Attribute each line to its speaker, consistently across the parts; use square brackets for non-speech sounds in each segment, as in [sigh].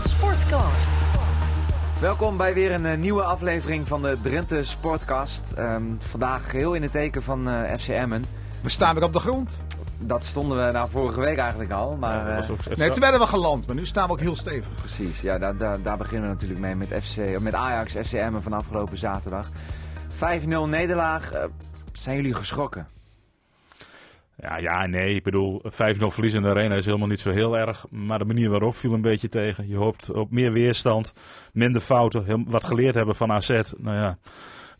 Speaker 1: Sportcast.
Speaker 2: Welkom bij weer een eh, nieuwe aflevering van de Drenthe Sportcast. Ehm, vandaag heel in het teken van eh FC Emmen.
Speaker 3: We staan weer op de grond.
Speaker 2: Dat stonden we daar vorige week eigenlijk al, maar
Speaker 4: Ja, dat was
Speaker 2: eh,
Speaker 4: ook extra-
Speaker 3: Nee, toen werden we geland, maar nu staan we ook heel stevig.
Speaker 2: precies. Ja, daar, daar, daar beginnen we natuurlijk mee met, FC, met Ajax, FC Emmen van afgelopen zaterdag. 5-0 nederlaag. Eh, zijn jullie geschrokken?
Speaker 4: ja, ja, nee. Ik bedoel, 5-0 verliezen in de arena is helemaal niet zo heel erg. Maar de manier waarop viel een beetje tegen. Je hoopt op meer weerstand, minder fouten. heel- wat geleerd hebben van AZ. Nou ja,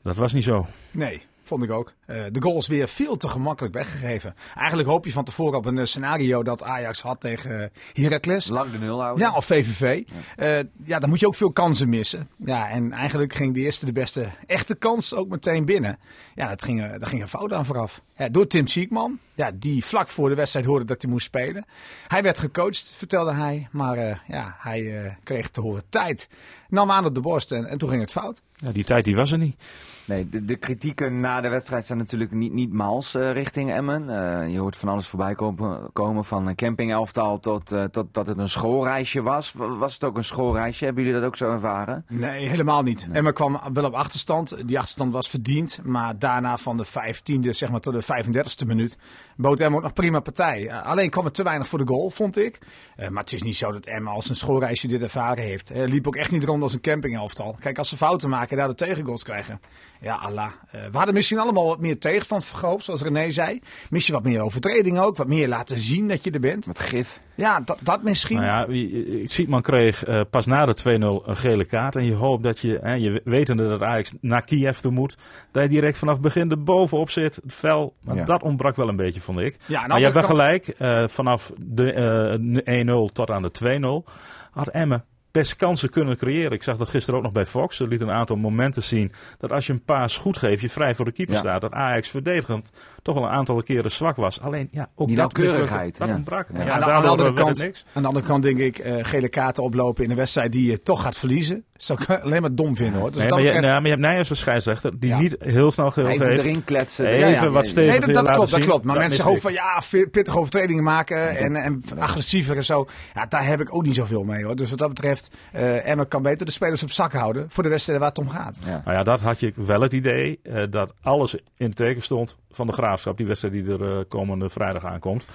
Speaker 4: dat was niet zo.
Speaker 3: Nee, vond ik ook. Eh, de goal is weer veel te gemakkelijk weggegeven. Eigenlijk hoop je van tevoren op een eh, scenario dat Ajax had tegen eh, Heracles.
Speaker 2: Lang de nul houden?
Speaker 3: Ja, of VVV. Eh, ja, dan moet je ook veel kansen missen. Ja, en eigenlijk ging de eerste de beste echte kans ook meteen binnen. Ja, dat ging, eh, daar ging een fout aan vooraf. Ja, door Tim Siekman, ja, die vlak voor de wedstrijd hoorde dat hij moest spelen. Hij werd gecoacht, vertelde hij. Maar eh, ja, hij eh, kreeg te horen tijd. Nam aan op de borst en, en toen ging het fout.
Speaker 4: Ja, die tijd die was er niet.
Speaker 2: Nee, de, de kritieken na de wedstrijd zijn natuurlijk niet, niet maals eh, richting Emmen. Eh, je hoort van alles voorbij komen, komen van een campingelftal tot, eh, tot dat het een schoolreisje was. Wa- Was het ook een schoolreisje? Hebben jullie dat ook zo ervaren?
Speaker 3: Nee, helemaal niet. En Emma kwam wel op achterstand. Die achterstand was verdiend. Maar daarna van de 15e zeg maar, tot de 35e minuut bood Emma ook nog prima partij. Eh, alleen kwam het te weinig voor de goal, vond ik. Eh, maar het is niet zo dat Emma als een schoolreisje dit ervaren heeft. Eh, liep ook echt niet rond als een campinghelftal. Kijk, als ze fouten maken en daardoor tegengoals krijgen. Ja, Allah. Eh, we hadden misschien allemaal wat meer tegenstand vergehoopt, zoals René zei. Misschien wat meer overtredingen ook. Wat meer laten zien dat je er bent.
Speaker 2: Wat gif.
Speaker 3: Ja, dat, dat misschien.
Speaker 4: Nou ja, je- je- Sietman kreeg eh, pas na de 2-0 een gele kaart. En je hoopt dat je, hè, je wetende dat Ajax naar Kiev toe moet, dat je direct vanaf het begin er bovenop zit. Fel. Maar
Speaker 2: Ja.
Speaker 4: dat ontbrak wel een beetje, vond ik.
Speaker 3: Ja, aan de
Speaker 4: maar je hebt wel
Speaker 3: andere
Speaker 4: gelijk. eh, vanaf de eh, 1-0 tot aan de 2-0 had Emmen best kansen kunnen creëren. Ik zag dat gisteren ook nog bij Fox. Ze liet een aantal momenten zien dat als je een paas goed geeft, je vrij voor de keeper
Speaker 2: Ja.
Speaker 4: staat. Dat Ajax verdedigend toch wel een aantal keren zwak was. Alleen ja, ook
Speaker 2: Die
Speaker 4: dat
Speaker 2: nauwkeurigheid,
Speaker 4: mislukte- Dat
Speaker 2: ja.
Speaker 4: ontbrak.
Speaker 2: Ja.
Speaker 4: Ja,
Speaker 3: aan, de, aan de
Speaker 4: daardoor
Speaker 3: andere
Speaker 4: werd het
Speaker 3: kant, Dus
Speaker 4: niks.
Speaker 3: aan de andere kant denk ik, eh, gele kaarten oplopen in een wedstrijd die je toch gaat verliezen. Zou ik [laughs] alleen maar dom vinden hoor. Dus
Speaker 4: Nee,
Speaker 3: dat
Speaker 4: maar, je,
Speaker 3: betreft-
Speaker 4: nou, maar je hebt Nijers als scheidsrechter die
Speaker 3: Ja.
Speaker 4: niet heel snel geheel
Speaker 2: Even
Speaker 4: heeft.
Speaker 2: erin kletsen.
Speaker 4: Even wat
Speaker 2: nee.
Speaker 4: stevig.
Speaker 3: nee, dat, dat
Speaker 4: laten
Speaker 3: klopt, dat
Speaker 4: zien,
Speaker 3: klopt. Maar
Speaker 4: dat
Speaker 3: mensen
Speaker 4: miste
Speaker 3: hopen van ja, ve- pittige overtredingen maken en, en agressiever en zo. Ja, daar heb ik ook niet zoveel mee hoor. Dus wat dat betreft, eh Emma kan beter de spelers op zak houden voor de wedstrijden waar het om gaat.
Speaker 2: Ja.
Speaker 4: Nou ja, dat had je wel het idee eh, dat alles in het teken stond van de graafschap. Die wedstrijd die er eh, komende vrijdag aankomt.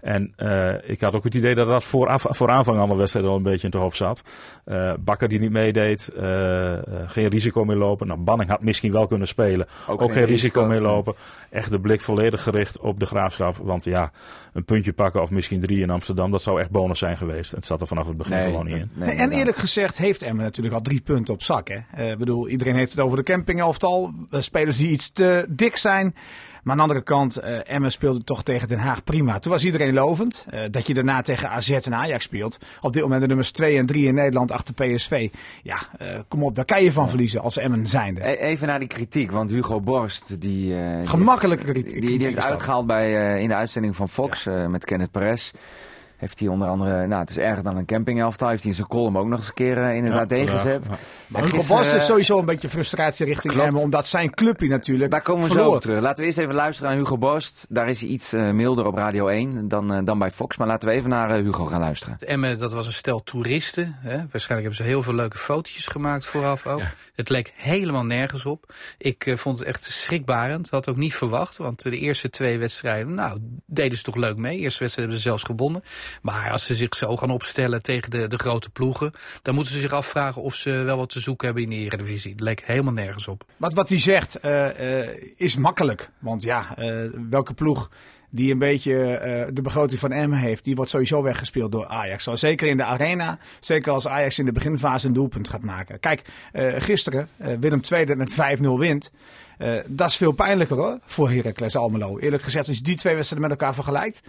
Speaker 4: En eh, ik had ook het idee dat dat vooraf, voor aanvang alle wedstrijden al een beetje in het hoofd zat. Eh, Bakker die niet meedeed, eh, eh, geen risico meer lopen. Nou, Banning had misschien wel kunnen spelen. Ook, geen, risico, meer lopen. Echt de blik volledig gericht op de graafschap. Want ja, een puntje pakken of misschien drie in Amsterdam, dat zou echt bonus zijn geweest. Het zat er vanaf het begin
Speaker 2: Nee,
Speaker 4: gewoon niet in.
Speaker 2: nee,
Speaker 3: en
Speaker 2: inderdaad.
Speaker 3: eerlijk gezegd heeft Emmen natuurlijk al drie punten op zak. Hè? Eh, Ik bedoel, iedereen heeft het over de campingelftal. Eh, Spelers die iets te dik zijn. Maar aan de andere kant, eh Emmen speelde toch tegen Den Haag prima. Toen was iedereen lovend. Eh, dat je daarna tegen AZ en Ajax speelt. Op dit moment de nummers 2 en 3 in Nederland achter PSV. Ja, eh, kom op, daar kan je van verliezen als Emmen zijnde.
Speaker 2: E- Even naar die kritiek, want Hugo Borst die... eh, die-
Speaker 3: Gemakkelijke kritiek
Speaker 2: Die, die heeft
Speaker 3: is dat.
Speaker 2: uitgehaald bij, eh, in de uitzending van Fox eh, met Kenneth Perez. Heeft hij onder andere, nou het is erger dan een campingelftal, heeft hij in zijn column ook nog eens een keer eh, inderdaad
Speaker 4: Ja,
Speaker 2: tegenzet.
Speaker 4: ja.
Speaker 3: Maar
Speaker 2: En
Speaker 3: Hugo
Speaker 2: gisteren,
Speaker 3: Bos heeft
Speaker 2: eh,
Speaker 3: sowieso een beetje frustratie richting
Speaker 2: klopt.
Speaker 3: Emmen. Omdat zijn clubje natuurlijk
Speaker 2: eh, Daar komen we
Speaker 3: verloor.
Speaker 2: zo op terug. Laten we eerst even luisteren naar Hugo Borst. Daar is hij iets eh, milder op Radio 1 dan, eh, dan bij Fox. Maar laten we even naar eh, Hugo gaan luisteren.
Speaker 5: Emmen, dat was een stel toeristen. Hè. Waarschijnlijk hebben ze heel veel leuke fotootjes gemaakt vooraf ook. Het leek helemaal nergens op. Ik eh, vond het echt schrikbarend. Had ook niet verwacht, want eh, de eerste twee wedstrijden, nou, deden ze toch leuk mee. De eerste wedstrijd hebben ze zelfs gewonnen. Maar als ze zich zo gaan opstellen tegen de, de grote ploegen, dan moeten ze zich afvragen of ze wel wat te zoeken hebben in de Eredivisie. Het leek helemaal nergens op.
Speaker 3: Wat, wat hij zegt eh, eh, is makkelijk. Want ja, eh, welke ploeg die een beetje eh, de begroting van M heeft, die wordt sowieso weggespeeld door Ajax. Zo, zeker in de arena, zeker als Ajax in de beginfase een doelpunt gaat maken. Kijk, eh, gisteren eh, Willem II dat met 5-0 wint. Eh, dat is veel pijnlijker hoor, voor Heracles Almelo. Eerlijk gezegd, als je die twee wedstrijden met elkaar vergelijkt,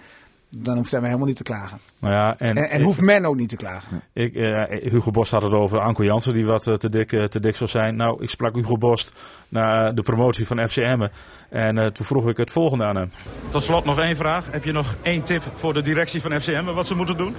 Speaker 3: dan hoeft hij me helemaal niet te klagen.
Speaker 4: Nou ja, en,
Speaker 3: En, en hoeft men ook niet te klagen.
Speaker 4: Ik, eh, Hugo Borst had het over Anko Jansen, die wat eh, te, dik, eh, te dik zou zijn. Nou, ik sprak Hugo Borst na eh, de promotie van FC Emmen. En eh, toen vroeg ik het volgende aan hem.
Speaker 6: Tot slot nog één vraag. Heb je nog één tip voor de directie van FCM wat ze moeten doen?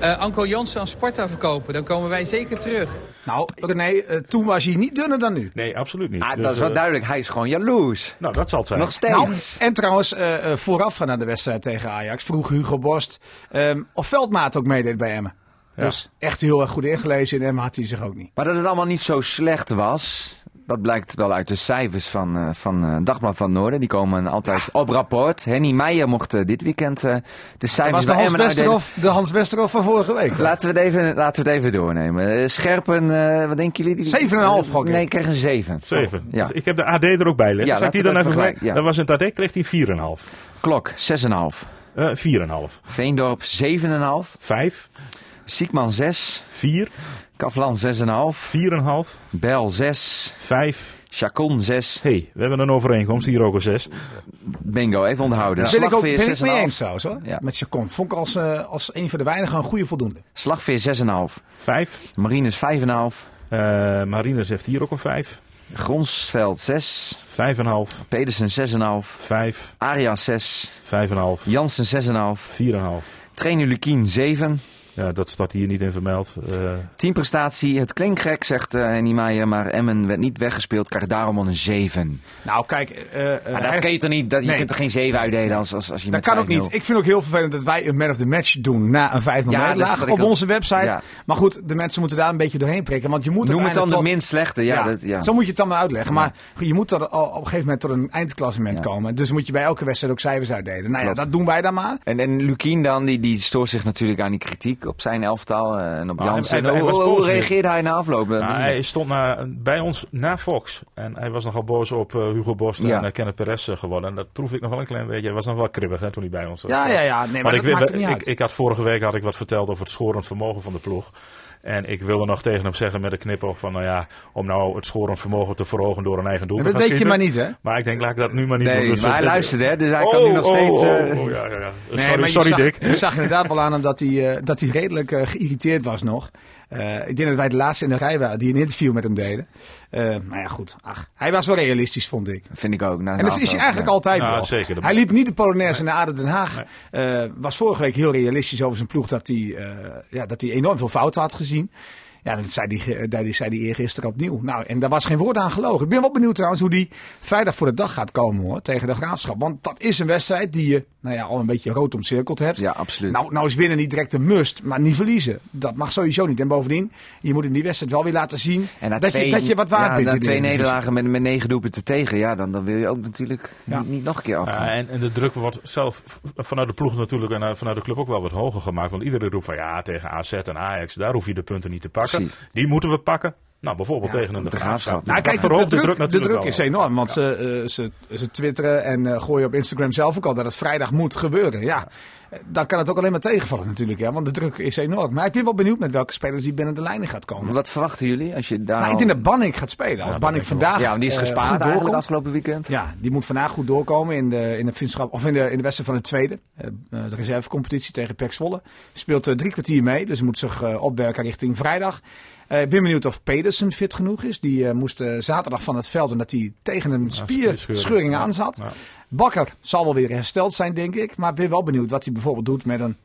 Speaker 5: Eh Anko Jansen aan Sparta verkopen, dan komen wij zeker terug.
Speaker 3: Nou, René, eh, toen was hij niet dunner dan nu.
Speaker 4: Nee, absoluut niet.
Speaker 2: Ah,
Speaker 4: Dus,
Speaker 2: dat is wel
Speaker 4: eh,
Speaker 2: duidelijk. Hij is gewoon jaloers.
Speaker 4: Nou, dat zal het zijn.
Speaker 2: Nog
Speaker 3: Nou,
Speaker 2: steeds.
Speaker 3: en trouwens, eh eh, voorafgaand aan de wedstrijd tegen Ajax vroeg Hugo Borst ehm, of Veldmaat ook meedeed bij Emmen.
Speaker 4: Ja.
Speaker 3: Dus echt heel erg goed ingelezen. In Emmen had hij zich ook niet.
Speaker 2: Maar dat het allemaal niet zo slecht was, dat blijkt wel uit de cijfers van, eh, van eh, Dagblad van Noorden. Die komen altijd op rapport. Henny Meijer mocht eh, dit weekend eh, de cijfers
Speaker 3: Was de
Speaker 2: bij
Speaker 3: Hans,
Speaker 2: Emmen uitdelen.
Speaker 3: Westerhof, de Hans Westerhof van vorige week.
Speaker 2: Laten we, het even, laten we het even doornemen. Eh, Scherpen, eh, wat denken jullie? Die-
Speaker 3: 7,5 gok ik.
Speaker 2: Nee, ik kreeg een 7.
Speaker 4: Zeven.
Speaker 2: Oh, Ja.
Speaker 4: Dus ik heb de AD er ook bij liggen.
Speaker 2: Ja,
Speaker 4: Zal ik
Speaker 2: laten
Speaker 4: die dan
Speaker 2: we
Speaker 4: even
Speaker 2: even
Speaker 4: vergelijken?
Speaker 2: gelijk- ja.
Speaker 4: Dat was in het AD, kreeg hij 4,5.
Speaker 2: Klok, 6,5.
Speaker 4: Eh 4,5.
Speaker 2: Veendorp, 7,5.
Speaker 4: 5,
Speaker 2: Siekman, 6.
Speaker 4: 4,
Speaker 2: Kaflan, 6,5.
Speaker 4: 4,5,
Speaker 2: Bel, 6.
Speaker 4: 5.
Speaker 2: Chacon, 6.
Speaker 4: Hé, hey, we hebben een overeenkomst. Hier ook een 6.
Speaker 2: Bingo, even onthouden.
Speaker 3: ben ik ook ben
Speaker 2: Slagveer,
Speaker 3: ik mee eens
Speaker 2: 6,5.
Speaker 3: trouwens hoor.
Speaker 2: Ja.
Speaker 3: Met Chacon. Vond ik als, eh, als een van de weinigen een goede voldoende.
Speaker 2: Slagveer, 6,5.
Speaker 4: 5.
Speaker 2: Marines, 5,5.
Speaker 4: Eh Marines heeft hier ook een 5.
Speaker 2: Gronsveld, 6.
Speaker 4: 5,5.
Speaker 2: Pedersen, 6,5.
Speaker 4: 5,
Speaker 2: Arias, 6.
Speaker 4: 5,5.
Speaker 2: Jansen, 6,5.
Speaker 4: 4,5.
Speaker 2: Trainer Lukien, 7.
Speaker 4: Ja, dat staat hier niet in vermeld. Eh,
Speaker 2: Teamprestatie, het klinkt gek, zegt eh Henny Maier, maar Emmen werd niet weggespeeld, krijgt daarom al een 7.
Speaker 3: Nou kijk. eh, eh,
Speaker 2: Maar
Speaker 3: hij
Speaker 2: dat
Speaker 3: heeft-
Speaker 2: kun je toch niet, dat, je
Speaker 3: Nee.
Speaker 2: kunt er geen 7 uitdelen als, als, als je
Speaker 3: Dat
Speaker 2: met
Speaker 3: kan ook
Speaker 2: 5-0.
Speaker 3: niet. Ik vind ook heel vervelend dat wij een man of the match doen na een 5
Speaker 2: Ja,
Speaker 3: ja,
Speaker 2: dat zat ik
Speaker 3: op
Speaker 2: ook-
Speaker 3: onze website.
Speaker 2: Ja.
Speaker 3: Maar goed, de mensen moeten daar een beetje doorheen prikken. Want je moet
Speaker 2: Noem het dan
Speaker 3: uiteindelijk
Speaker 2: de
Speaker 3: tot-
Speaker 2: minst slechte. Ja,
Speaker 3: Ja,
Speaker 2: Dat, ja.
Speaker 3: Zo moet je het dan maar uitleggen.
Speaker 2: Ja.
Speaker 3: Maar je moet er al op een gegeven moment tot een eindklassement
Speaker 2: Ja.
Speaker 3: komen. Dus moet je bij elke wedstrijd ook cijfers uitdelen. Nou ja,
Speaker 2: Klopt.
Speaker 3: dat doen wij dan maar.
Speaker 2: En, en Lukien dan, die, die stoort zich natuurlijk aan die kritiek op zijn elftal eh, en op
Speaker 4: Ah,
Speaker 2: Jansen.
Speaker 4: hij- hij- hij
Speaker 2: hoe,
Speaker 4: was
Speaker 2: hoe
Speaker 4: boos nu.
Speaker 2: reageerde hij na
Speaker 3: Ah,
Speaker 2: afloop? Eh,
Speaker 4: Nou, hij stond na, bij ons na Fox. En hij was nogal boos op eh, Hugo Borst
Speaker 2: Ja.
Speaker 4: en eh, Kenneth Perez eh, geworden. En dat proef ik nog wel een klein beetje. Hij was nog wel kribbig hè, toen hij bij ons was.
Speaker 3: Ja, ja, ja. Nee, maar,
Speaker 4: maar
Speaker 3: dat
Speaker 4: ik, weet-
Speaker 3: maakt het niet
Speaker 4: ik,
Speaker 3: uit.
Speaker 4: ik had vorige week had ik wat verteld over het schorend vermogen van de ploeg. En ik wilde nog tegen hem zeggen met een knipoog van... nou ja, om nou het schorend vermogen te verhogen door een eigen doel
Speaker 3: En
Speaker 4: te
Speaker 3: dat
Speaker 4: gaan
Speaker 3: weet je
Speaker 4: schieten.
Speaker 3: maar niet, hè?
Speaker 4: Maar ik denk, laat ik dat nu maar niet doen.
Speaker 2: nee,
Speaker 4: Dus
Speaker 2: maar hij
Speaker 4: dat-
Speaker 2: luisterde, hè, dus hij
Speaker 4: Oh,
Speaker 2: kan nu nog
Speaker 4: oh,
Speaker 2: steeds...
Speaker 4: oh,
Speaker 2: eh,
Speaker 4: oh, ja, ja, ja.
Speaker 3: Nee,
Speaker 4: sorry,
Speaker 3: maar
Speaker 4: sorry
Speaker 3: je zag,
Speaker 4: Dick.
Speaker 3: Je zag inderdaad wel aan hem dat hij, eh, dat hij redelijk eh, geïrriteerd was nog. Eh, ik denk dat wij de laatste in de rij waren die een interview met hem deden. Eh maar ja, goed. Ach, hij was wel realistisch, vond ik.
Speaker 2: Vind ik ook. na
Speaker 3: En
Speaker 2: de
Speaker 3: dat is hij
Speaker 2: afloop,
Speaker 3: eigenlijk
Speaker 2: ja.
Speaker 3: altijd
Speaker 4: Ja,
Speaker 3: wel.
Speaker 4: zeker. Dat
Speaker 3: Hij liep niet de Polonaise naar ADO Den Haag. Eh, was vorige week heel realistisch over zijn ploeg dat hij, eh, ja, dat hij enorm veel fouten had gezien. Ja, dat zei hij, ge- dat zei hij eergisteren opnieuw. Nou, en daar was geen woord aan gelogen. Ik ben wel benieuwd trouwens hoe die vrijdag voor de dag gaat komen hoor, tegen de Graafschap. Want dat is een wedstrijd die je nou ja, al een beetje rood omcirkeld hebt.
Speaker 2: Ja, absoluut.
Speaker 3: Nou, nou is winnen niet direct een must, maar niet verliezen. Dat mag sowieso niet. En bovendien, je moet in die wedstrijd wel weer laten zien
Speaker 2: En na
Speaker 3: dat,
Speaker 2: twee-
Speaker 3: je, dat je wat waard
Speaker 2: ja,
Speaker 3: bent.
Speaker 2: na
Speaker 3: in de
Speaker 2: twee
Speaker 3: Eredivisie.
Speaker 2: nederlagen met, met negen doelpunten tegen, ja, dan, dan wil je ook natuurlijk
Speaker 3: Ja.
Speaker 2: niet, niet nog een keer afgaan.
Speaker 4: Ja, en, en de druk wordt zelf v- vanuit de ploeg natuurlijk en eh, vanuit de club ook wel wat hoger gemaakt. Want iedereen roept van ja, tegen AZ en Ajax, daar hoef je de punten niet te pakken.
Speaker 2: Precies.
Speaker 4: Die moeten we pakken. Nou, bijvoorbeeld
Speaker 3: Ja,
Speaker 4: tegen een de
Speaker 2: de
Speaker 4: graafschap.
Speaker 2: Graafschap.
Speaker 3: Nou, kijk, de,
Speaker 4: Dat verhoogt
Speaker 3: de, druk, de
Speaker 4: natuurlijk
Speaker 3: druk
Speaker 4: wel.
Speaker 3: is enorm. Want ze, eh, ze, ze twitteren en eh, gooien op Instagram zelf ook al dat het vrijdag moet gebeuren. Ja, eh, dan kan het ook alleen maar tegenvallen natuurlijk. Ja, want de druk is enorm. Maar ik ben wel benieuwd met welke spelers die binnen de lijnen gaat komen.
Speaker 2: Wat verwachten jullie als je daar...
Speaker 3: Nou, ik
Speaker 2: al-
Speaker 3: denk dat Banning gaat spelen. Als
Speaker 4: dat
Speaker 3: Banning
Speaker 4: denk ik
Speaker 3: vandaag
Speaker 2: Nou. ja, want die is
Speaker 3: eh,
Speaker 2: gespaard
Speaker 3: goed
Speaker 2: eigenlijk
Speaker 3: doorkomt.
Speaker 2: afgelopen weekend.
Speaker 3: Ja, die moet vandaag goed doorkomen in de, in de, vriendschap, of in de, in de wedstrijd van de tweede. eh, eh, de reservecompetitie tegen PEC Zwolle. Speelt eh, drie kwartier mee, dus moet zich eh, opwerken richting vrijdag. Eh, Ik ben benieuwd of Pedersen fit genoeg is. Die eh, moest eh, zaterdag van het veld en dat hij tegen een spierscheuring
Speaker 4: ja.
Speaker 3: aan zat.
Speaker 4: Ja.
Speaker 3: Bakker zal wel weer hersteld zijn, denk ik. Maar ik ben wel benieuwd wat hij bijvoorbeeld doet met een...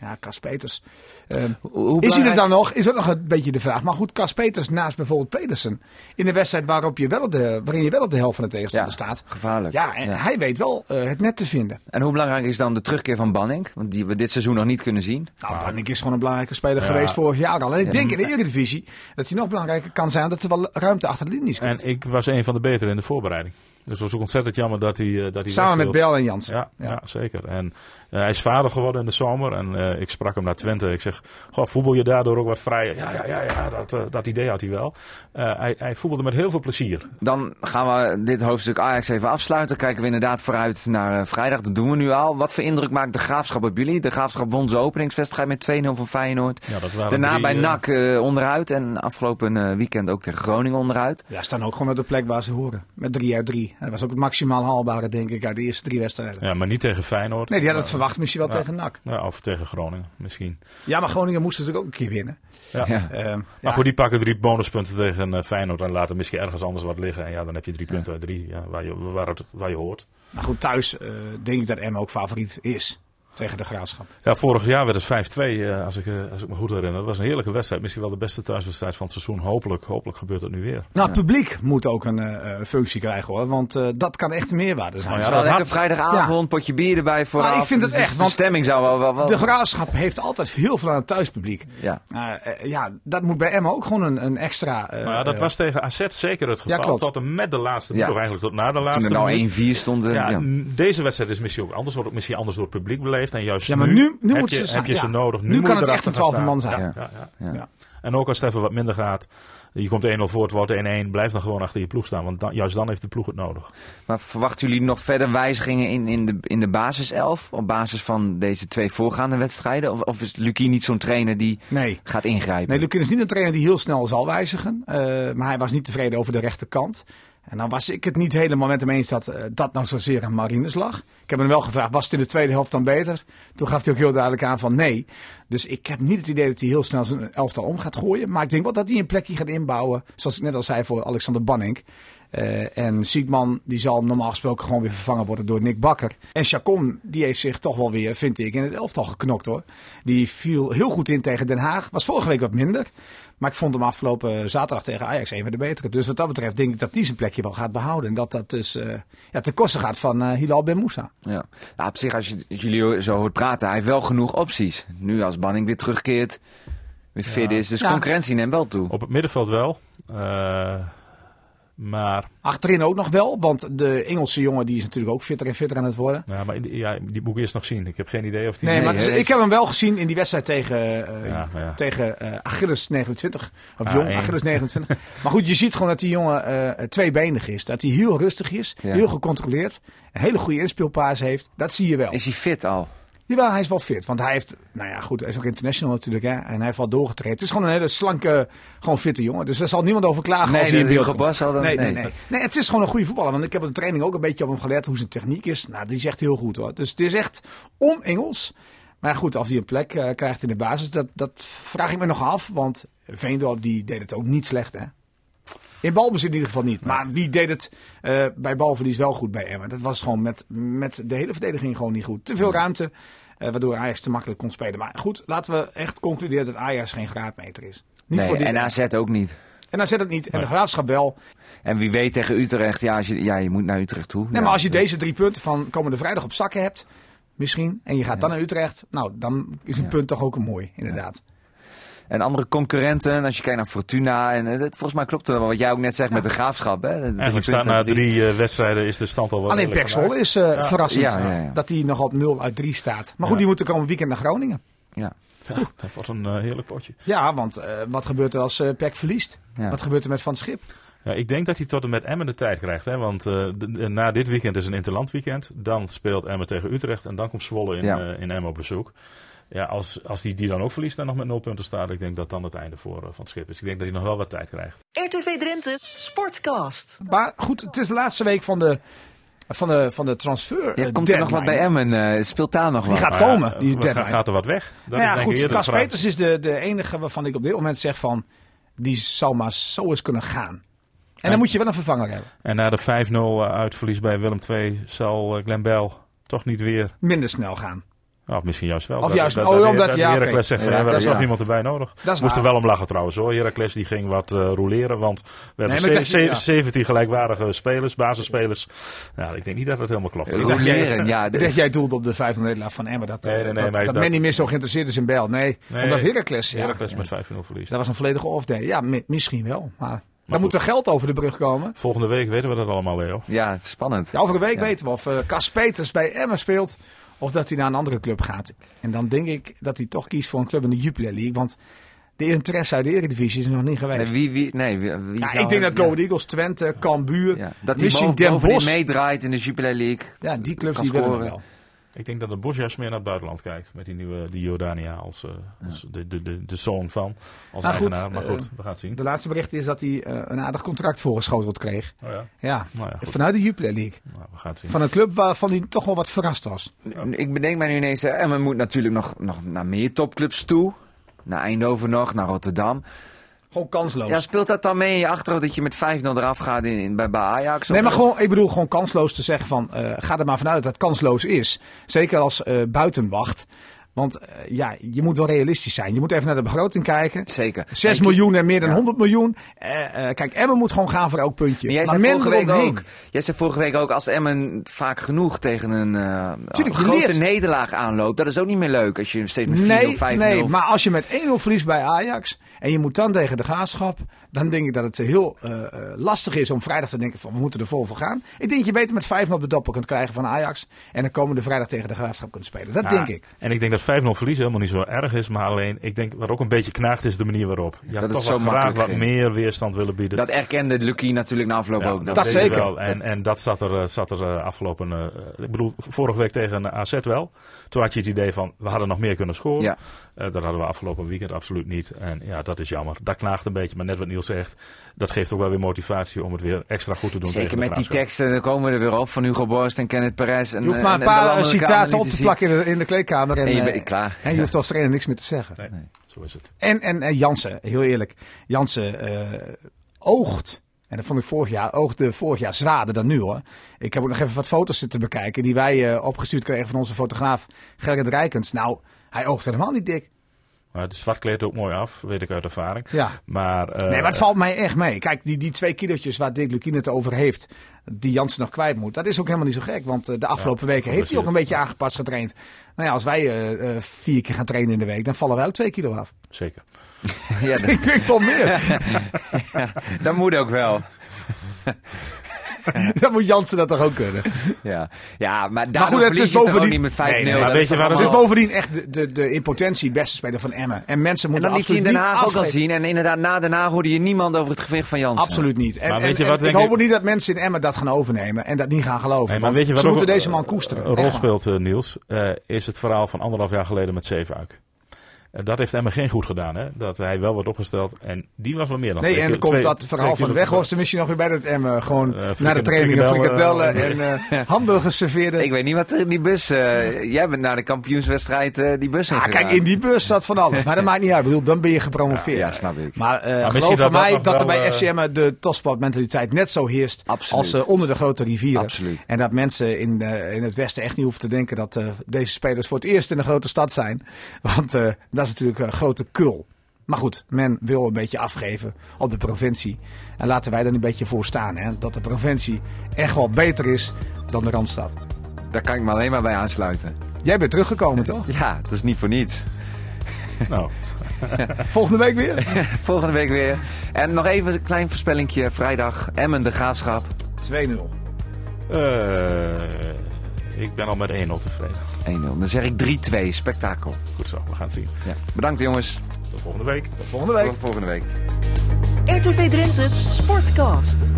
Speaker 3: Ja, Kas Peters. Eh,
Speaker 2: Hoe- hoe
Speaker 3: is hij er
Speaker 2: belangrijk-
Speaker 3: dan nog? Is dat nog een beetje de vraag. Maar goed, Kas Peters naast bijvoorbeeld Pedersen. In de wedstrijd waarop je wel op de, waarin je wel op de helft van de tegenstander staat.
Speaker 2: Gevaarlijk.
Speaker 3: Ja, en hij weet wel eh, het net te vinden.
Speaker 2: En hoe belangrijk is dan de terugkeer van Banning? Want die we dit seizoen nog niet kunnen zien.
Speaker 3: Nou, Bannik is gewoon een belangrijke speler
Speaker 4: Ja.
Speaker 3: geweest vorig jaar al. En ik denk in de Eredivisie dat hij nog belangrijker kan zijn... dat er wel ruimte achter de linies komt.
Speaker 4: En ik was een van de betere in de voorbereiding. Dus het was ook ontzettend jammer dat hij. eh, Dat hij
Speaker 3: Samen
Speaker 4: weg
Speaker 3: met
Speaker 4: wil.
Speaker 3: Bel en Jansen.
Speaker 4: Ja, ja. zeker. En eh, hij is vader geworden in de zomer. En eh, ik sprak hem naar Twente. Ik zeg, goh, voetbal je daardoor ook wat vrijer? Ja, ja, ja, ja dat, eh, dat idee had hij wel. Eh, hij, hij voetbalde met heel veel plezier.
Speaker 2: Dan gaan we dit hoofdstuk Ajax even afsluiten. Kijken we inderdaad vooruit naar eh, vrijdag. Dat doen we nu al. Wat voor indruk maakt de graafschap op jullie? De graafschap won zijn openingswedstrijd met 2-0 van Feyenoord.
Speaker 4: Ja, dat waren
Speaker 2: Daarna
Speaker 4: drie,
Speaker 2: bij
Speaker 4: eh,
Speaker 2: NAC eh, onderuit. En afgelopen eh, weekend ook tegen Groningen onderuit.
Speaker 3: Ja, staan ook gewoon op de plek waar ze horen. Met 3 uit 3. Dat was ook het maximaal haalbare, denk ik, uit de eerste drie wedstrijden.
Speaker 4: Ja, maar niet tegen Feyenoord.
Speaker 3: Nee, die hadden het
Speaker 4: Ja.
Speaker 3: verwacht misschien wel
Speaker 4: Ja.
Speaker 3: tegen NAC.
Speaker 4: Ja, of tegen Groningen misschien.
Speaker 3: Ja, maar Groningen moest natuurlijk ook een keer winnen.
Speaker 4: Ja.
Speaker 2: Ja.
Speaker 3: Ehm,
Speaker 4: Maar
Speaker 3: ja.
Speaker 4: goed, die pakken drie bonuspunten tegen eh, Feyenoord en laten misschien ergens anders wat liggen. En ja, dan heb je drie punten uit drie ja, waar, je, waar, het, waar je hoort.
Speaker 3: Maar goed, thuis eh, denk ik dat Emma ook favoriet is. tegen de Graafschap.
Speaker 4: Ja, vorig jaar werd het 5-2, eh, als, ik, eh, als ik me goed herinner. Dat was een heerlijke wedstrijd. Misschien wel de beste thuiswedstrijd van het seizoen. Hopelijk, hopelijk gebeurt dat nu weer.
Speaker 3: Nou, het publiek moet ook een eh, eh, functie krijgen hoor. Want eh, dat kan echt een meerwaarde zijn.
Speaker 4: Nou
Speaker 2: Het
Speaker 4: ja,
Speaker 2: is wel
Speaker 4: dat
Speaker 2: lekker vrijdagavond, potje bier erbij vooraf.
Speaker 3: Nou, ik vind het
Speaker 2: Dus
Speaker 3: echt,
Speaker 2: De
Speaker 3: want
Speaker 2: stemming zou wel... wel, wel
Speaker 3: De graafschap heeft altijd heel veel aan het thuispubliek.
Speaker 2: ja.
Speaker 3: Eh, eh, ja, dat moet bij Emma ook gewoon een, een extra. eh,
Speaker 4: Nou ja, dat
Speaker 3: eh,
Speaker 4: was tegen AZ zeker het geval.
Speaker 3: klopt.
Speaker 4: tot en met de laatste
Speaker 2: Ja.
Speaker 4: minuut, of eigenlijk tot na de
Speaker 2: Toen
Speaker 4: laatste
Speaker 2: er nou
Speaker 4: minuut.
Speaker 2: 1-4 stond. eh,
Speaker 4: Ja,
Speaker 2: ja.
Speaker 4: n- Deze wedstrijd is misschien ook anders. Wordt ook misschien anders door het publiek beleefd. En juist
Speaker 3: Ja, maar nu- nu
Speaker 4: heb,
Speaker 3: moeten
Speaker 4: je,
Speaker 3: ze
Speaker 4: heb
Speaker 3: zijn,
Speaker 4: je ze
Speaker 3: ja.
Speaker 4: nodig.
Speaker 3: Nu
Speaker 4: moet
Speaker 3: kan
Speaker 4: je
Speaker 3: het
Speaker 4: erachter
Speaker 3: echt een
Speaker 4: gaan staan.
Speaker 3: 12e man zijn.
Speaker 4: Ja, ja, ja.
Speaker 2: Ja.
Speaker 3: Ja.
Speaker 4: En ook als het even wat minder gaat. Je komt 1-0 voor, het wordt 1-1. Blijf dan gewoon achter je ploeg staan. Want dan- juist dan heeft de ploeg het nodig.
Speaker 2: Maar verwachten jullie nog verder wijzigingen in, in, de, in de basiself? Op basis van deze twee voorgaande wedstrijden? Of, of is Lucie niet zo'n trainer die
Speaker 3: Nee.
Speaker 2: gaat ingrijpen?
Speaker 3: Nee, Lukin is niet een trainer die heel snel zal wijzigen. eh, maar hij was niet tevreden over de rechterkant. En dan was ik het niet helemaal met hem eens dat eh, dat nou zozeer aan Marines lag. Ik heb hem wel gevraagd, was het in de tweede helft dan beter? Toen gaf hij ook heel duidelijk aan van nee. Dus ik heb niet het idee dat hij heel snel zijn elftal om gaat gooien. Maar ik denk wel dat hij een plekje gaat inbouwen. Zoals ik net al zei voor Alexander Banning. Eh, en Siegman die zal normaal gesproken gewoon weer vervangen worden door Nick Bakker. En Chacon die heeft zich toch wel weer, vind ik, in het elftal geknokt hoor. Die viel heel goed in tegen Den Haag. Was vorige week wat minder. Maar ik vond hem afgelopen zaterdag tegen Ajax een van de betere. Dus wat dat betreft denk ik dat die zijn plekje wel gaat behouden. En dat dat dus eh, ja, ten koste gaat van eh, Hilal Ben Moussa.
Speaker 2: Ja. Nou, op zich, als, je, als jullie zo hoort praten, hij heeft wel genoeg opties. Nu als Banning weer terugkeert, weer fit is. Dus
Speaker 3: Ja.
Speaker 2: concurrentie neemt wel toe.
Speaker 4: Op het middenveld wel. eh, maar,
Speaker 3: Achterin ook nog wel, want de Engelse jongen die is natuurlijk ook fitter en fitter aan het worden.
Speaker 4: ja, maar in die- ja, die moet ik eerst nog zien. Ik heb geen idee of die...
Speaker 3: Nee, maar dus
Speaker 2: hij heeft-
Speaker 3: ik heb hem wel gezien in die wedstrijd tegen, eh,
Speaker 4: Ja, maar ja.
Speaker 3: tegen eh, Achilles 29. Of
Speaker 4: Ah,
Speaker 3: jong
Speaker 4: één.
Speaker 2: [laughs]
Speaker 3: Achilles 29. maar goed, je ziet gewoon dat die jongen eh, tweebenig is. Dat hij heel rustig is,
Speaker 2: Ja.
Speaker 3: heel gecontroleerd. Een hele goede inspeelpaas heeft. Dat zie je wel.
Speaker 2: Is hij fit al?
Speaker 3: Jawel, hij is wel fit. Want hij heeft, nou ja, goed, hij is ook international natuurlijk. Hè, en hij heeft wel doorgetraind. Het is gewoon een hele slanke, gewoon fitte jongen. Dus daar zal niemand over klagen als hij in beeld
Speaker 2: Hugo
Speaker 3: komt.
Speaker 2: Bas al dan.
Speaker 3: Nee, nee, nee. nee, het is gewoon een goede voetballer. Want ik heb op de training ook een beetje op hem gelet hoe zijn techniek is. Nou, die is echt heel goed hoor. Dus het is echt on-Engels. Maar goed, of hij een plek eh, krijgt in de basis, dat, dat vraag ik me nog af. Want Veendorp die deed het ook niet slecht hè. In balbezit in ieder geval niet. Maar wie deed het eh, bij balverlies wel goed bij Emma? Dat was gewoon met, met de hele verdediging gewoon niet goed. Te veel ruimte, eh, waardoor Ajax te makkelijk kon spelen. Maar goed, laten we echt concluderen dat Ajax geen graadmeter is. Niet
Speaker 2: Nee,
Speaker 3: voor dit.
Speaker 2: en AZ ook niet.
Speaker 3: en dan zet het niet. En de graafschap wel.
Speaker 2: En wie weet tegen Utrecht, ja, als je, ja je moet naar Utrecht toe.
Speaker 3: Nee,
Speaker 2: Ja.
Speaker 3: maar als je deze drie punten van komende vrijdag op zakken hebt, misschien, en je gaat dan naar Utrecht, nou, dan is een
Speaker 2: Ja.
Speaker 3: punt toch ook een mooi, inderdaad.
Speaker 2: En andere concurrenten, als je kijkt naar Fortuna. En eh, dat, volgens mij klopt er wel wat jij ook net zegt met de graafschap. Hè? De drie
Speaker 4: Eigenlijk staat
Speaker 2: punten,
Speaker 4: na
Speaker 2: drie-
Speaker 4: drie eh, wedstrijden is de stand al wel
Speaker 3: Alleen
Speaker 4: redelijk
Speaker 3: Ah, Pek Zwolle is eh, verrassend
Speaker 2: Ja, ja, ja.
Speaker 3: dat hij nog op 0 uit 3 staat. Maar goed,
Speaker 4: Ja.
Speaker 3: die moeten komend weekend naar Groningen.
Speaker 2: Ja.
Speaker 4: gemaakt. Ja, dat wordt een eh, heerlijk potje.
Speaker 3: Ja, want eh, wat gebeurt er als eh Pek verliest?
Speaker 2: Ja.
Speaker 3: Wat gebeurt er met Van het Schip?
Speaker 4: Ja, ik denk dat hij tot en met Emmen de tijd krijgt. Hè? Want eh, de- de- na dit weekend is een interlandweekend. Dan speelt Emmen tegen Utrecht. En dan komt Zwolle in,
Speaker 2: Ja.
Speaker 4: eh, in Emmen op bezoek. Ja, als, als hij die dan ook verliest en nog met nul punten staat... ik denk dat dan het einde voor eh, van het schip is. Ik denk dat hij nog wel wat tijd krijgt.
Speaker 1: RTV Drenthe Sportcast.
Speaker 3: Maar goed, het is de laatste week van de, van de, van de transfer.
Speaker 2: Ja,
Speaker 3: eh,
Speaker 2: komt er nog wat
Speaker 3: deadline.
Speaker 2: bij Emmen? eh, speelt daar nog
Speaker 3: Die
Speaker 2: wat?
Speaker 3: gaat
Speaker 4: Maar,
Speaker 3: komen,
Speaker 4: eh,
Speaker 3: die
Speaker 4: wat-
Speaker 3: deadline.
Speaker 4: gaat er wat weg? Dat
Speaker 3: Nou
Speaker 4: is
Speaker 3: ja,
Speaker 4: denk ik
Speaker 3: goed.
Speaker 4: eerder de
Speaker 3: Cas
Speaker 4: vraag.
Speaker 3: Peters is de, de enige waarvan ik op dit moment zeg van. die zou maar zo eens kunnen gaan. En dan moet je wel een vervanger hebben.
Speaker 4: En na de 5-0 uitverlies bij Willem II... zal eh, Glenn Bell toch niet weer...
Speaker 3: Minder snel gaan.
Speaker 4: Ja, of misschien juist wel.
Speaker 3: Of juist- oh, omdat-
Speaker 4: dat
Speaker 3: ja, oké.
Speaker 4: Heracles zegt, eh, van,
Speaker 2: Ja,
Speaker 4: ja, daar is
Speaker 2: ja.
Speaker 4: nog iemand erbij nodig.
Speaker 3: Dat is
Speaker 4: Moest er
Speaker 3: waar.
Speaker 4: wel om lachen trouwens hoor. Heracles die ging wat eh roleren, want we
Speaker 3: maar
Speaker 4: hebben
Speaker 3: ik
Speaker 4: ze-
Speaker 3: dacht-
Speaker 4: ze-
Speaker 3: ja.
Speaker 4: 17 gelijkwaardige spelers, basisspelers. Nou, ik denk niet dat dat helemaal klopt. Ik dacht-
Speaker 2: Roleren, Eh, ja.
Speaker 3: [laughs]
Speaker 2: de-
Speaker 3: Dat jij doelde op de 5 nederlaag van Emmer. Dat, eh,
Speaker 4: Nee, nee, nee,
Speaker 3: dat,
Speaker 4: maar
Speaker 3: dat
Speaker 4: dat-
Speaker 3: men niet meer zo geïnteresseerd is in Bel. Nee,
Speaker 4: Nee.
Speaker 3: omdat Heracles. Ja, Dus
Speaker 4: Heracles met 5-0 verliest.
Speaker 3: Dat was een volledige off-day. Ja, mi- misschien wel. Maar, dan
Speaker 4: goed.
Speaker 3: moet er geld over de brug komen.
Speaker 4: Volgende week weten we dat allemaal, Leo.
Speaker 2: Ja, het is spannend.
Speaker 3: De Over week
Speaker 2: Ja.
Speaker 3: weten we of eh, Cas Peters bij Emmen speelt. Of dat hij naar een andere club gaat. En dan denk ik dat hij toch kiest voor een club in de Jupiler League. Want de interesse uit de Eredivisie is er nog niet
Speaker 2: Nee,
Speaker 3: geweest.
Speaker 2: wie, wie, nee, wie, wie
Speaker 3: Ja,
Speaker 2: zou-
Speaker 3: ik denk dat
Speaker 2: ja.
Speaker 3: Go Ahead Eagles, Twente, Cambuur,
Speaker 2: Ja, dat hij
Speaker 3: misschien
Speaker 2: boven,
Speaker 3: Den
Speaker 2: bovenin
Speaker 3: Bosch.
Speaker 2: meedraait in de Jupiler League.
Speaker 3: Ja, die clubs
Speaker 2: Kan
Speaker 3: die willen we
Speaker 2: scoren.
Speaker 3: wel.
Speaker 4: Ik denk dat de Bos juist meer naar het buitenland kijkt. Met die nieuwe die Jordania als, eh, als de, de, de, de zoon van. Als
Speaker 3: Nou, goed,
Speaker 4: eigenaar. maar
Speaker 3: eh,
Speaker 4: goed, we gaan het zien.
Speaker 3: De laatste bericht is dat hij eh, een aardig contract voorgeschoteld kreeg.
Speaker 4: Oh ja.
Speaker 3: Ja,
Speaker 4: Nou ja, goed.
Speaker 3: vanuit de Jupiler League.
Speaker 4: Nou, we gaan het zien.
Speaker 3: Van een club waarvan hij toch wel wat verrast was.
Speaker 2: Ik bedenk mij nu ineens, hè, Emmen moet natuurlijk nog, nog naar meer topclubs toe. Naar Eindhoven nog, naar Rotterdam.
Speaker 3: Gewoon kansloos.
Speaker 2: Ja, speelt dat dan mee in je achterhoofd dat je met 5-0 eraf gaat in, in- bij, bij Ajax? Of-
Speaker 3: Nee, maar gewoon, ik bedoel gewoon kansloos te zeggen van, eh, ga er maar vanuit dat het kansloos is. Zeker als eh, buitenwacht. Want eh, ja, je moet wel realistisch zijn. Je moet even naar de begroting kijken.
Speaker 2: Zeker.
Speaker 3: 6
Speaker 2: En-
Speaker 3: miljoen en meer dan
Speaker 2: Ja.
Speaker 3: 100 miljoen. Eh, eh, kijk, Emmen moet gewoon gaan voor elk puntje.
Speaker 2: Maar jij zei,
Speaker 3: men
Speaker 2: vorige week
Speaker 3: eromheen.
Speaker 2: ook, jij zei vorige week ook, als Emmen vaak genoeg tegen een eh,
Speaker 3: Tuurlijk, je
Speaker 2: grote
Speaker 3: leert.
Speaker 2: nederlaag aanloopt, dat is ook niet meer leuk als je steeds met 4-0, 5-0...
Speaker 3: Nee, nee, maar als je met 1-0 verliest bij Ajax en je moet dan tegen de graafschap, dan denk ik dat het heel eh, eh, lastig is om vrijdag te denken van we moeten er vol voor gaan. Ik denk dat je beter met 5-0 op de doppel kunt krijgen van Ajax en dan komende vrijdag tegen de graafschap kunt spelen. Dat
Speaker 4: Ja,
Speaker 3: denk ik.
Speaker 4: En ik denk dat 5-0 verliezen helemaal niet zo erg is. Maar alleen, ik denk wat ook een beetje knaagt is de manier waarop. Je had
Speaker 2: het
Speaker 4: toch
Speaker 2: zo
Speaker 4: wel graag
Speaker 2: makkelijk
Speaker 4: wat
Speaker 2: ging.
Speaker 4: meer weerstand willen bieden.
Speaker 2: Dat erkende Lucky natuurlijk na afloop
Speaker 4: Ja,
Speaker 2: ook.
Speaker 3: dat
Speaker 4: weet ik
Speaker 3: zeker.
Speaker 4: wel. En, en dat zat er, eh, zat er eh, afgelopen. eh, eh, ik bedoel, vorige week tegen eh, AZ wel. Toen had je het idee van we hadden nog meer kunnen scoren.
Speaker 2: Ja.
Speaker 4: Eh, dat hadden we afgelopen weekend absoluut niet. En ja, dat is jammer. Dat knaagt een beetje. Maar net wat Niels zegt, dat geeft ook wel weer motivatie om het weer extra goed te doen. tegen
Speaker 2: Zeker
Speaker 4: de
Speaker 2: met die
Speaker 4: Graafschap.
Speaker 2: teksten, dan komen we er weer op van Hugo Borst en Kenneth Perez. En,
Speaker 3: Je hoeft
Speaker 2: en-
Speaker 3: maar een
Speaker 2: en de
Speaker 3: paar eh,
Speaker 2: landelijke
Speaker 3: citaten op te
Speaker 2: analytici.
Speaker 3: plakken in de, in de kleedkamer en,
Speaker 2: En je
Speaker 3: eh,
Speaker 2: bent klaar. [laughs]
Speaker 3: en je hoeft als trainer niks meer te zeggen.
Speaker 4: Nee, zo is het.
Speaker 3: En, en, en Jansen, heel eerlijk. Jansen eh, oogt. En dat vond ik vorig jaar, oogde vorig jaar zwaarder dan nu hoor. Ik heb ook nog even wat foto's zitten bekijken die wij eh, opgestuurd kregen van onze fotograaf Gerrit Rijkens. Nou, hij oogt helemaal niet dik.
Speaker 4: Maar het zwart kleedt ook mooi af, weet ik uit ervaring.
Speaker 3: Ja.
Speaker 4: Maar, eh,
Speaker 3: Nee, maar het valt mij echt mee. Kijk, die, die twee kilootjes waar Dick Lukien het over heeft, die Jansen nog kwijt moet, dat is ook helemaal niet zo gek. Want eh, de afgelopen weken heeft hij ook een beetje aangepast getraind. Nou ja, als wij eh, eh, vier keer gaan trainen in de week, dan vallen wij ook twee kilo af. [laughs]
Speaker 4: Zeker.
Speaker 2: Ja, dat,
Speaker 3: Ik denk wel meer.
Speaker 4: [laughs]
Speaker 2: dat moet ook wel.
Speaker 3: dan moet Jansen dat toch ook kunnen.
Speaker 2: Ja, ja maar daarom
Speaker 3: goed, het is
Speaker 2: verlies je toch ook niet
Speaker 3: bovendien-
Speaker 2: met 5-0.
Speaker 4: Nee, maar
Speaker 2: dat
Speaker 4: weet
Speaker 2: is
Speaker 4: je
Speaker 2: toch
Speaker 4: waar het
Speaker 3: Het is
Speaker 2: allemaal-
Speaker 3: Dus bovendien echt de, de, de in potentie beste speler van Emmen. En mensen
Speaker 2: En
Speaker 3: moeten
Speaker 2: dat liet hij in
Speaker 3: absoluut
Speaker 2: Den
Speaker 3: niet
Speaker 2: Haag ook al
Speaker 3: afschrijven.
Speaker 2: zien. En inderdaad, na Den Haag hoorde je niemand over het gewicht van Jansen.
Speaker 3: Absoluut niet. En,
Speaker 4: Maar weet
Speaker 3: en-
Speaker 4: je
Speaker 3: en
Speaker 4: wat, denk
Speaker 3: ik hoop
Speaker 4: ik-
Speaker 3: ook niet dat mensen in Emmen dat gaan overnemen en dat niet gaan geloven.
Speaker 4: Nee, maar
Speaker 3: want
Speaker 4: weet je wat
Speaker 3: ze
Speaker 4: ook
Speaker 3: moeten
Speaker 4: een-
Speaker 3: deze man koesteren.
Speaker 4: een rol
Speaker 3: Echt waar.
Speaker 4: speelt, eh, Niels, eh, is het verhaal van anderhalf jaar geleden met Zeefuik. Eh, Dat heeft Emma geen goed gedaan, hè? Dat hij wel wordt opgesteld en die was wel meer dan
Speaker 3: Nee,
Speaker 4: twee
Speaker 3: en dan
Speaker 4: keer-
Speaker 3: komt
Speaker 4: twee-
Speaker 3: dat verhaal
Speaker 4: twee
Speaker 3: van
Speaker 4: keer
Speaker 3: de
Speaker 4: op-
Speaker 3: weghorst misschien nog weer bij dat Emmen. Gewoon
Speaker 4: Eh,
Speaker 3: naar de
Speaker 4: frikade-
Speaker 3: trainingen,
Speaker 4: frikadellen,
Speaker 3: frikadellen en eh, hamburgers
Speaker 2: [laughs]
Speaker 3: serveerden.
Speaker 2: Ik weet niet wat er in die bus... eh, Jij bent na de kampioenswedstrijd eh, die bus in
Speaker 3: Ah, kijk, in die bus zat van alles. Maar dat maakt niet uit. Ik bedoel, dan ben je gepromoveerd.
Speaker 2: Ja, snap ik.
Speaker 3: Maar, eh
Speaker 4: misschien
Speaker 3: geloof
Speaker 4: dat
Speaker 3: van
Speaker 4: dat
Speaker 3: mij
Speaker 4: nog
Speaker 3: dat, er
Speaker 4: wel,
Speaker 3: bij
Speaker 4: eh,
Speaker 3: FCM de topsportmentaliteit net zo heerst
Speaker 2: Absoluut.
Speaker 3: als eh, onder de grote rivieren.
Speaker 2: Absoluut.
Speaker 3: En dat mensen in, eh, in het Westen echt niet hoeven te denken dat eh, deze spelers voor het eerst in de grote stad zijn. [laughs] Want eh, dat is natuurlijk een grote kul. Maar goed, men wil een beetje afgeven op de provincie. En laten wij er een beetje voor staan. Hè? Dat de provincie echt wel beter is dan de Randstad.
Speaker 2: Daar kan ik me alleen maar bij aansluiten.
Speaker 3: Jij bent teruggekomen, toch?
Speaker 2: Ja, dat is niet voor niets. [laughs]
Speaker 4: Nou,
Speaker 3: Volgende week weer? [laughs]
Speaker 2: Volgende week weer. En nog even een klein voorspellingje. Vrijdag, Emmen, de Graafschap.
Speaker 3: 2-0.
Speaker 4: eh, ik ben al met 1-0 tevreden.
Speaker 2: 1-0. Dan zeg ik 3-2. Spektakel.
Speaker 4: Goed zo, we gaan het zien.
Speaker 2: Ja. Bedankt jongens.
Speaker 4: Tot volgende week.
Speaker 3: Volgende week.
Speaker 2: Tot volgende week.
Speaker 1: RTV Drenthe Sportcast.